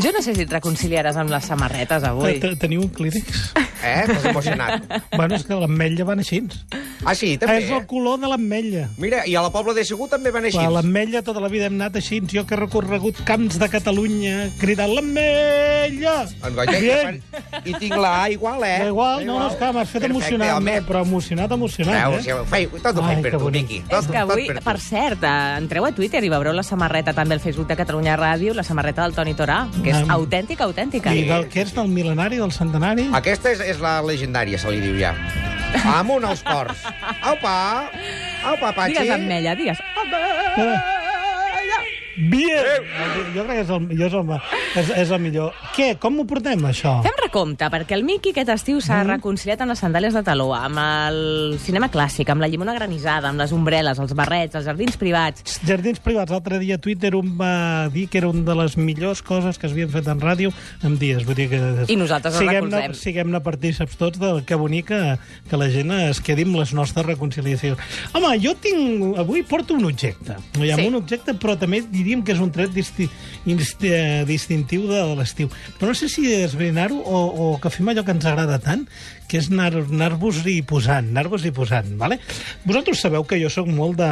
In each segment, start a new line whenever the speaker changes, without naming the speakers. Jo no sé si et reconciliaràs amb les samarretes avui.
Te- Teniu un clínex?
Eh? T'has emocionat.
bueno, és que l'Ametlla van així.
Ah, sí, també.
És el color de l'Ametlla.
Mira, i a la Pobla de Segur també van així.
A l'Ametlla tota la vida hem anat així. Jo que he recorregut camps de Catalunya cridant l'Ametlla!
En Goya,
Bien!
I tinc la A igual, eh?
Da igual, no, no, és que m'has fet emocionar,
home.
però emocionat, emocionat,
Veus, ja
eh?
ho fei, tot ho
Ai,
fei per
que
tu,
bonic.
Miqui. Tot-
És que avui,
tot per tu.
per cert, eh, entreu a Twitter i veureu la samarreta també al Facebook de Catalunya Ràdio, la samarreta del Toni Torà, que és
Am.
autèntica, autèntica.
I del que és del mil·lenari, del centenari?
Aquesta és, és la legendària, se li diu ja. Amunt als ports. Apa! Apa, Patxi.
Digues ametlla, digues ametlla.
Bien! Jo crec que és el, jo és el, és, és el millor. Què? Com ho portem, això?
Fem recompte, perquè el Miqui aquest estiu s'ha reconciliat amb les sandàlies de taló, amb el cinema clàssic, amb la llimona granissada, amb les ombrel·les, els barrets, els jardins privats...
Jardins privats. L'altre dia a Twitter un va dir que era una de les millors coses que s'havien fet en ràdio en dies. Vull dir que...
I nosaltres el
siguem-ne
recolzem.
siguem partíceps tots del que bonica que la gent es quedi amb les nostres reconciliacions. Home, jo tinc... Avui porto un objecte. Hi ha
Sí.
un objecte, però també diríem que és un tret disti... insti- eh, distintiu de l'estiu. Però no sé si esbrinar-ho o, o que fem allò que ens agrada tant, que és anar- anar-vos hi posant, anar-vos hi posant, vale? Vosaltres sabeu que jo sóc molt de,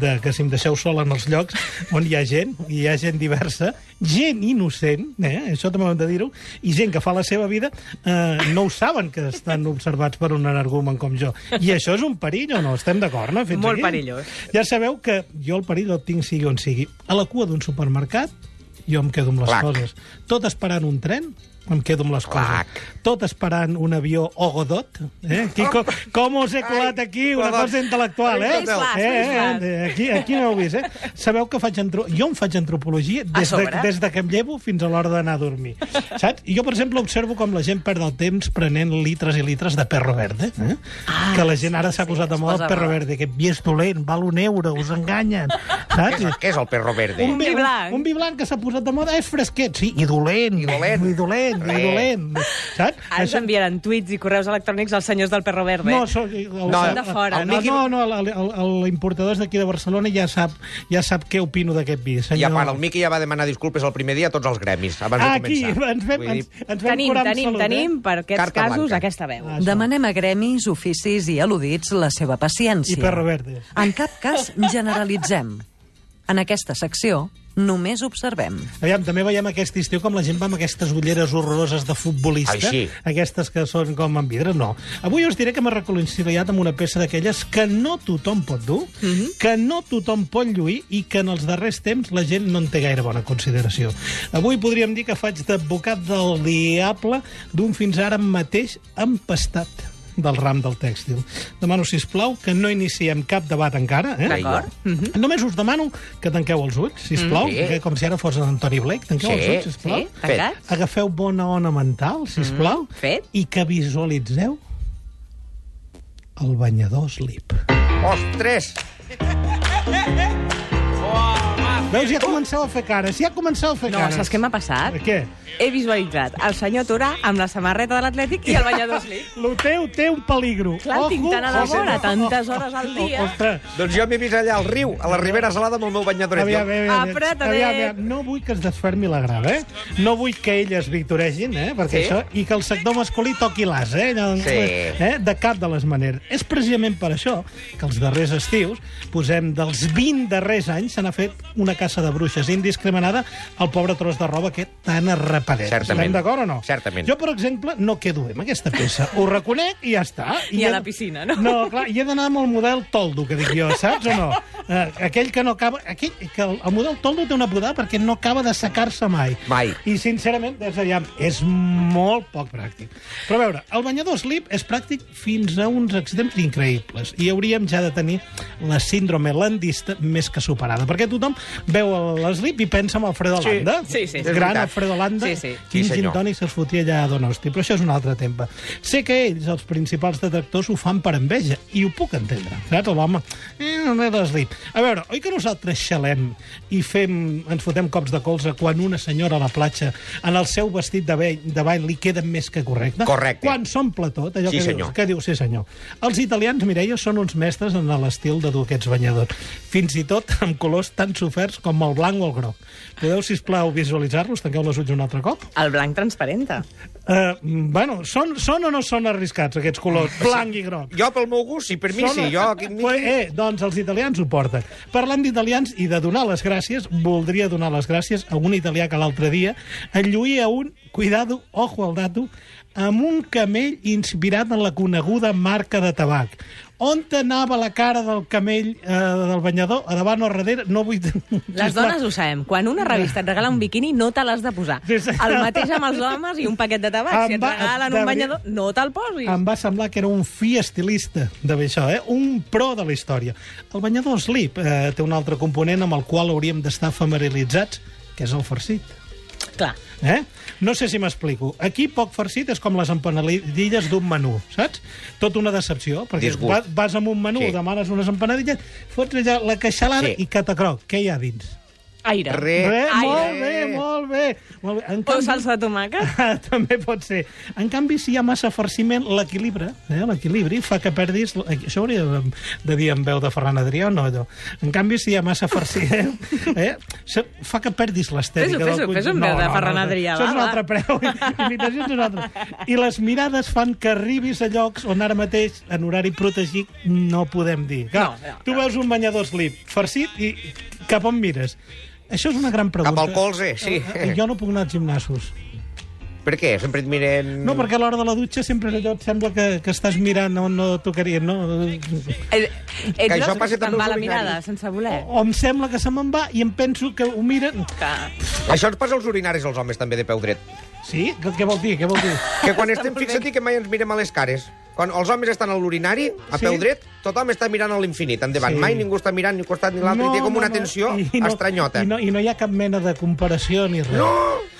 de que si em deixeu sol en els llocs on hi ha gent, hi ha gent diversa, gent innocent, eh? això també ho hem de dir-ho, i gent que fa la seva vida, eh, no ho saben que estan observats per un energumen com jo. I això és un perill o no? Estem d'acord, no? Fins
Molt
aquí?
perillós.
Ja sabeu que jo el perill el tinc sigui on sigui. A la cua d'un supermercat, jo em quedo amb les
Clac.
coses. Tot esperant un tren, em quedo amb les
Clac.
coses. Tot esperant un avió o Godot. Eh? Aquí, com, com us he colat
Ai,
aquí una
Godot.
cosa intel·lectual, eh?
Fes flash,
eh,
fes flash.
eh, eh, aquí, aquí no heu vist, eh? Sabeu que faig antro... jo em faig antropologia des de,
sobre?
des de que em llevo fins a l'hora d'anar a dormir. Saps? I jo, per exemple, observo com la gent perd el temps prenent litres i litres de perro verde. Eh?
Ah,
que la gent ara s'ha
sí,
posat de
es
moda
posa
el perro
moda.
verde, que vi és dolent, val un euro, us enganyen. Saps?
Què és, què és el perro verde?
Un vi blanc.
Un, un vi blanc que s'ha posat de moda és fresquet, sí, i dolent.
I dolent.
I dolent, i
Eh.
dolent. Saps?
Ara ens enviaran tuits i correus electrònics als senyors del Perro Verde.
No, so, el,
Són
de fora,
el,
no?
no, no, el- el- el- l'importador és d'aquí de Barcelona i ja sap, ja sap què opino d'aquest vi, senyor.
I a part, el Miqui ja va demanar disculpes el primer dia a tots els gremis, abans
Aquí,
de començar.
ens vam,
Vull dir,
ens, ens vam
Tenim,
curar amb
tenim,
salut, eh?
tenim, per aquests
Carta
casos,
blanca.
aquesta veu.
Ah,
Demanem a gremis, oficis i al·ludits la seva
Eh?
paciència.
I perro verde.
En cap cas generalitzem. En aquesta secció només observem.
Aviam, també veiem aquest estiu com la gent va amb aquestes ulleres horroroses de futbolista.
Ai, sí.
Aquestes que són com amb vidre, no. Avui us diré que m'he reconciliat amb una peça d'aquelles que no tothom pot dur, que no tothom pot lluir i que en els darrers temps la gent no en té gaire bona consideració. Avui podríem dir que faig d'advocat del diable d'un fins ara mateix empestat del ram del tèxtil. Demano, si plau que no iniciem cap debat encara. Eh?
D'acord.
Només us demano que tanqueu els ulls, sisplau,
Sí.
mm. que com si ara fos en Antoni Blake. Tanqueu
Sí.
els ulls, sisplau.
Sí? Tancat?
Agafeu bona ona mental, sisplau.
Mm, fet.
I que visualitzeu el banyador slip.
Ostres!
Veus, ja comenceu a fer cares, ja comenceu a fer
No,
cares.
saps què m'ha passat?
Què?
He visualitzat el senyor Torà amb la samarreta de l'Atlètic i el banyador slip.
Lo teu té un peligro.
Clar, el tinc tan a la
ojo,
vora,
ojo,
tantes
ojo,
hores al
ojo,
dia.
Ostres,
Doncs jo m'he vist allà al riu, a la Ribera Salada, amb el meu banyadoret.
Aviam, aviam, aviam.
Apreta't.
aviam, aviam. No vull que es desfermi la grava, eh? No vull que elles victoregin, eh? Perquè
Sí?
això... I que el sector masculí toqui l'as, eh? No,
Sí.
eh? De cap de les maneres. És precisament per això que els darrers estius, posem dels 20 darrers anys, se n'ha fet una caça de bruixes indiscriminada al pobre tros de roba que tan es repeteix.
Certament.
Estem d'acord o no?
Certament.
Jo, per exemple, no quedo bé amb aquesta peça. Ho reconec i ja està. I
Ni a
he-
la piscina, no?
No, clar, i he d'anar amb el model toldo, que dic jo, saps o no? Eh, aquell que no acaba... Aquell, que el, el model toldo té una podada perquè no acaba de secar-se mai.
Mai.
I, sincerament, des d'allà és molt poc pràctic. Però, a veure, el banyador slip és pràctic fins a uns extrems increïbles i hauríem ja de tenir la síndrome landista més que superada, perquè tothom veu l'slip i pensa en Alfredo
Sí,
Landa.
sí, sí, sí.
Gran
És veritat.
Alfredo Landa.
Sí, sí.
Quin
Sí, senyor.
gin tònics es fotia allà a Donosti, però això és un altre tema. Sé que ells, els principals detractors, ho fan per enveja, i ho puc entendre. Saps? L'home, eh, no m'he deslip. A veure, oi que nosaltres xalem i fem, ens fotem cops de colze quan una senyora a la platja, en el seu vestit de ball, de ball li queda més que correcte?
Correcte.
Quan s'omple tot, allò
Sí,
que,
senyor.
dius, que diu, sí senyor. Els italians, Mireia, són uns mestres en l'estil de dur aquests banyadors. Fins i tot amb colors tan soferts colors com el blanc o el groc. Podeu, si plau visualitzar-los? Tanqueu les ulls un altre cop.
El blanc transparenta.
Uh, bueno, són, són o no són arriscats, aquests colors, blanc i groc?
Jo, pel meu gust, sí, per Ah, mi sí. Jo, aquí,
Pues, eh, doncs els italians ho porten. Parlant d'italians i de donar les gràcies, voldria donar les gràcies a un italià que l'altre dia enlluïa un, cuidado, ojo al dato, amb un camell inspirat en la coneguda marca de tabac. On anava la cara del camell eh, del banyador? A davant o a darrere? No vull...
Les dones ho sabem. Quan una revista et regala un biquini, no te l'has de posar.
Sí, sí.
El mateix amb els homes i un paquet de tabac. Si
Em
et
va-
regalen un
de veri-
banyador, no te'l posis.
Em va semblar que era un fi estilista de bé això, eh? un pro de la història. El banyador Slip eh, té un altre component amb el qual hauríem d'estar familiaritzats, que és el farcit.
Clar.
Eh? No sé si m'explico. Aquí poc farcit és com les empanadilles d'un menú, saps? Tot una decepció, perquè
Disgust.
va, vas amb un menú,
Sí.
sí. demanes unes empanadilles, fots allà la queixalada
Sí.
sí. i catacroc. Què hi ha dins?
Aire.
Re. Eh,
Re,
ai,
molt,
eh.
bé, molt bé, molt bé. En
O salsa de tomàquet.
Ah, també pot ser. En canvi, si hi ha massa farciment, l'equilibre, eh, l'equilibri fa que perdis... eh, Això hauria de, de dir en veu de Ferran Adrià o no, allò? En canvi, si hi ha massa farciment, eh, se- fa que perdis l'estètica
Fes-ho,
del
fes-ho,
conjunt.
fes-ho en veu de Ferran Adrià,
Això és
va,
un
va.
altre preu. Imitacions és un altre. I les mirades fan que arribis a llocs on ara mateix, en horari protegit, no podem dir. Clar,
No, no,
tu veus un banyador slip farcit i cap on mires? Això és una gran pregunta. Eh,
Cap al colze, sí.
Jo no puc anar als gimnasos.
Per què? Sempre et miren...
Mm. No, perquè a l'hora de la dutxa sempre és allò, et sembla que, que estàs mirant on no tocaria, no?
Eh, Ets
això
l'home que
passa
se'n
també
va
als
la mirada,
urinaris.
sense voler.
O em sembla que se me'n va i em penso que ho miren...
Que...
Això ens passa als urinaris als homes, també, de peu dret.
Sí? Què, què vol dir? Què vol dir?
Que quan estem fixats que mai ens mirem a les cares. Quan els homes estan a l'urinari, a
Sí.
peu dret, tothom està mirant a l'infinit, endavant.
Sí.
Mai ningú està mirant ni un costat ni l'altre. i té com una tensió
I
estranyota.
I no, I no hi ha cap mena de comparació ni res.
No,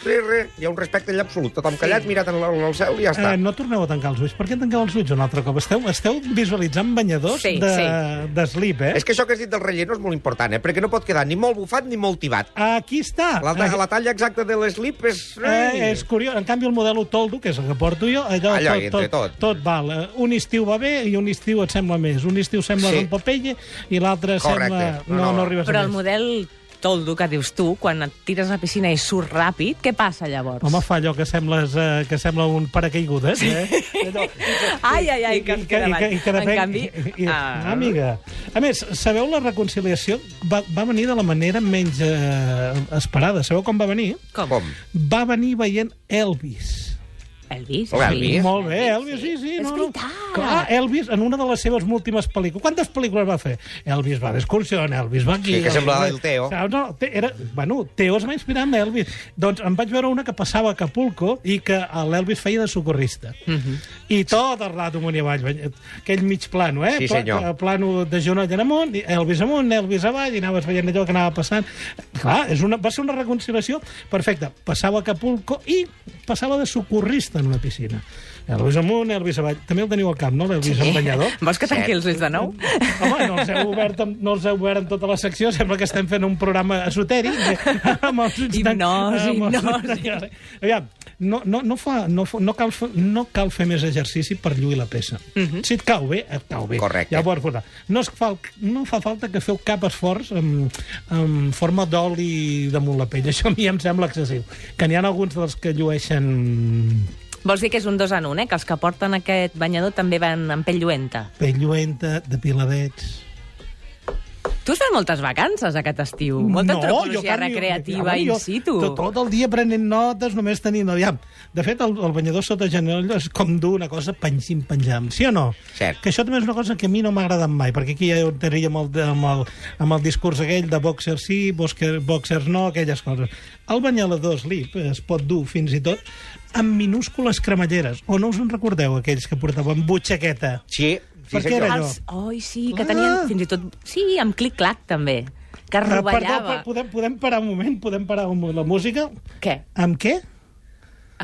res, res. Hi ha un respecte allà absolut. Tothom callat, mirat en el, en el cel i ja està.
Eh, no torneu a tancar els ulls. Per què tanqueu els ulls un altre cop? Esteu, esteu visualitzant banyadors
Sí,
de,
sí.
de slip, eh?
És que això que has dit del relleno és molt important, eh? perquè no pot quedar ni molt bufat ni molt tibat.
Aquí està.
La, ta la talla exacta de l'eslip és...
Ah, Eh, és curiós. En canvi, el model Toldo, que és el que porto jo, allò,
Allò,
tot,
entre
tot,
tot.
tot. val. Eh, Un estiu va bé i un estiu et sembla més. Un estiu sembla
Sí.
sí. un papelle i l'altre
Correcte.
sembla...
No,
No,
no.
no, arribes
Però
a
el
més.
model toldo que dius tu, quan et tires a la piscina i surts ràpid, què passa llavors?
Home, fa allò que, sembles, eh, que sembla un paracaigudes, eh?
ai, ai, ai,
I-
que
i
em queda
i que- i que
davant. En
depèn-
canvi...
i- i-
ah.
Amiga. A més, sabeu la reconciliació va, va venir de la manera menys eh, esperada. Sabeu com va venir?
Com?
Com?
Va venir veient Elvis.
Oh, Elvis.
Hola,
sí.
Elvis.
Molt bé, Elvis, sí, sí.
És
no,
veritat.
No. Clar, eh, Elvis, en una de les seves últimes pel·lícules... Quantes pel·lícules va fer? Elvis va d'excursió, Elvis va aquí...
Sí, que
Elvis
semblava
va-
el Teo.
Saps? No, te, era, bueno, Teo es va inspirar en Elvis. Doncs em vaig veure una que passava a Acapulco i que l'Elvis feia de socorrista. Mm
Mhm.
-hmm. I tot el rato amunt i avall. veny- Aquell mig plano, eh?
Sí, senyor.
Pla, plano de genoll en amunt, i Elvis amunt, Elvis avall, i anaves veient allò que anava passant. Clar, és una, va ser una reconciliació perfecta. Passava a Acapulco i passava de socorrista en una piscina. Elvis amunt, Elvis avall. També el teniu al camp, no? L'Elvis sí. banyador.
Vols que tanqui els ulls de nou?
Home, no els, heu obert amb, no els heu obert amb tota la secció, sembla que estem fent un programa esotèric. Amb els ulls tan-
Hipnosi,
amb els ulls
hipnosi.
tan- Aviam, no, no, no, fa, no, fa- no, cal, fa- no cal fer més exercici per lluir la peça.
Mhm.
Si et cau bé, et cau bé.
Correcte.
Ja ho pots portar. No, es fa, no fa falta que feu cap esforç en, en forma d'oli damunt la pell. Això a mi em sembla excessiu. Que n'hi ha alguns dels que llueixen
Vols dir que és un dos en un, eh? Que els que porten aquest banyador també van amb pell lluenta.
pell lluenta, depiladets...
Tu has fet moltes vacances aquest estiu. Molta antropologia
canvio-
recreativa
Home,
in situ.
Tot, tot el dia prenent notes, només tenint... Aviam, de fet, el, el banyador sota genoll és com dur una cosa penjim, penjam, sí o no?
Cert.
Que això també és una cosa que a mi no m'ha agradat mai, perquè aquí ja ho tenia amb el, amb el, amb el discurs aquell de boxer sí, boxer, boxers no, aquelles coses. El banyador slip es pot dur fins i tot amb minúscules cremalleres. O no us en recordeu, aquells que portaven butxaqueta?
Sí, sí,
Per què era allò?
Els... Oi, sí, que
Ah.
tenien fins i tot... Sí, amb clic-clac, també. Que es
Ah, Perdó,
rovellava.
per- podem, podem parar un moment? Podem parar un moment la música?
Què?
Amb què?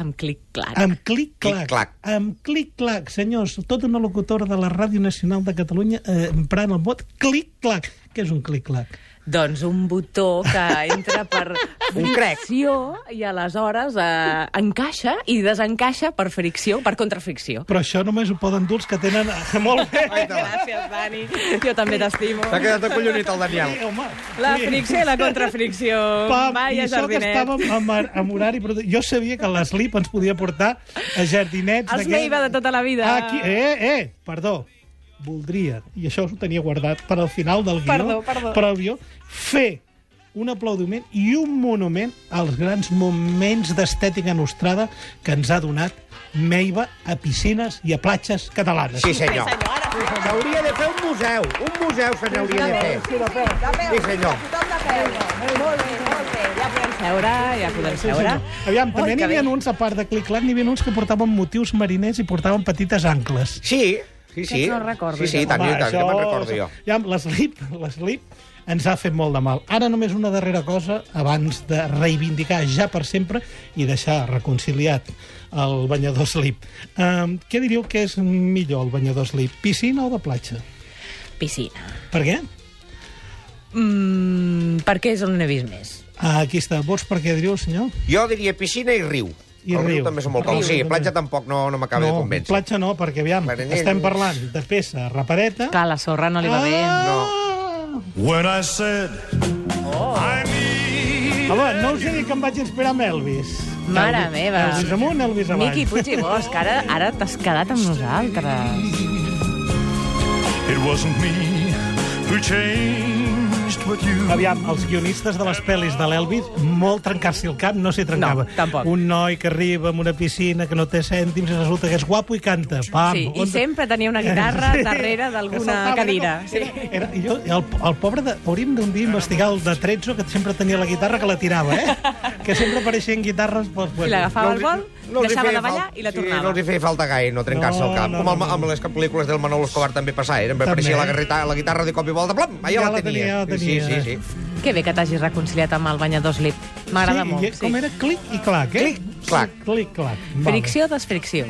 Amb clic-clac.
Amb clic-clac.
Clic-clac.
Amb clic-clac, senyors. Tota una locutora de la Ràdio Nacional de Catalunya eh, emprant el vot clic-clac. Què és un clic-clac?
Doncs un botó que entra per
Un crec.
fricció i aleshores eh, encaixa i desencaixa per fricció, per contrafricció.
Però això només ho poden dur els que tenen... Molt bé!
Ai, no.
Gràcies, Dani. Jo també t'estimo.
S'ha quedat acollonit el Daniel.
Eh, home,
La
sí.
fricció i la contrafricció.
Pam, i
Vaya,
això que
jardinet.
estàvem amb, amb horari... Però jo sabia que l'Slip ens podia portar a jardinets...
Els
d'aquells-
Neiva de tota la vida.
Aquí, eh, eh, perdó. Voldria, i això us ho tenia guardat per al final del guió,
Perdó, perdó.
però jo, fer un aplaudiment i un monument als grans moments d'estètica nostrada que ens ha donat Meiva a piscines i a platges catalanes.
Sí, senyor. S'hauria de fer un museu, un museu se n'hauria de fer. Sí, senyor.
Seure, ja podem
Sí, senyor.
seure.
Aviam, també
Oi,
n'hi
que
havia
bé.
uns, a part de clic-clac, n'hi havia uns que portaven motius mariners i portaven petites ancles.
Sí, sí, sí.
Aquests no recordo,
Sí, sí,
jo.
tant, i tant, que me'n recordo jo.
Ja, L'eslip, l'eslip ens ha fet molt de mal. Ara només una darrera cosa abans de reivindicar ja per sempre i deixar reconciliat el banyador slip. Um, què diríeu que és millor, el banyador slip? Piscina o de platja?
Piscina.
Per què?
Mm, per què és on n'he vist més?
Ah, aquí està. Vots per què diu el senyor?
Jo diria piscina i riu.
I
el riu,
riu.
també són molt còmodes. Sí,
Riu.
platja tampoc no, no m'acaba de
no,
convèncer.
platja no, perquè aviam,
Mariners.
estem parlant de peça Ah! repareta...
Que a la sorra no li va bé.
No.
When I said I need
Home, no us digui que em vaig inspirar amb Elvis.
Mare
Elvis-
meva.
Elvis amunt, Elvis avall.
Eh, Miqui Puig i Bosch, ara, ara t'has quedat amb nosaltres.
it wasn't me who changed, but you.
Aviam, els guionistes de les pel·lis de l'Elvis, molt trencar-s'hi el cap, no s'hi trencava.
No, tampoc.
Un noi que arriba amb una piscina que no té cèntims i resulta que és guapo i canta. Pam,
Sí, i
on-
sempre tenia una guitarra darrere
Que
d'alguna
saltava,
cadira.
no?
Sí.
Era, i jo, el, el pobre de... Hauríem d'un dia investigar el de Trezzo, que sempre tenia la guitarra que la tirava, eh? que sempre apareixien guitarres... Doncs,
I l'agafava
els
al
hi-
vol,
els hi
deixava
feia
de ballar
fal-
i la
Sí, no
tornava.
els hi feia falta gaire, no trencar-se
No,
el cap.
no,
Com
no,
amb, amb les pel·lícules del Manolo Escobar també passava, eh? Em apareixia la,
També.
guitarra, la guitarra de cop i volta, plam, allà
Ja
la
la
tenia.
tenia, la
Sí, sí,
tenia.
sí.
Que bé que t'hagis reconciliat amb el banyador slip. M'agrada
sí, i
molt.
Com era? Clic i clac, eh?
Clic, clac.
Sí, clic, clac. Vale.
Fricció, desfricció.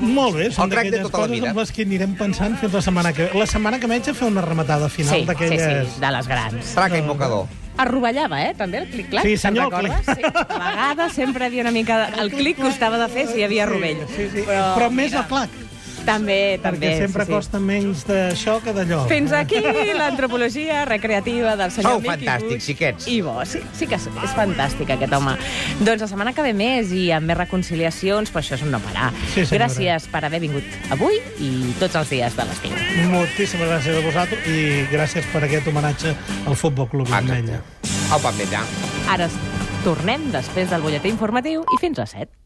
Molt bé, són
El crac de
d'aquelles
tota la
coses
vida.
amb les que anirem pensant fins la setmana que ve. La setmana que veig a fer una rematada final
Sí, sí,
d'aquelles...
sí, de les grans.
Traca i mocador.
Arrovellava, eh, també, el clic-clac.
Sí,
te'n
senyor,
recordes?
clic.
Sí, a vegades sempre havia una mica... de- El clic costava de fer si hi havia rovell.
Sí, sí, però, però més a clac,
També,
perquè
també.
sempre
sí, sí.
costa menys d'això que d'allò.
Fins aquí l'antropologia recreativa del senyor
Sou
Miqui
fantàstics,
Puig
xiquets.
I bo, sí, sí que és, és fantàstic aquest home. Doncs la setmana que ve més i amb més reconciliacions, però això és un no parar.
Sí, senyora.
Gràcies per haver vingut avui i tots els dies de l'estiu.
Moltíssimes gràcies a vosaltres i gràcies per aquest homenatge al Futbol Club
Exacte.
Vermella.
Au, pam, més ja.
Ara es- tornem després del butlletí informatiu i fins a set.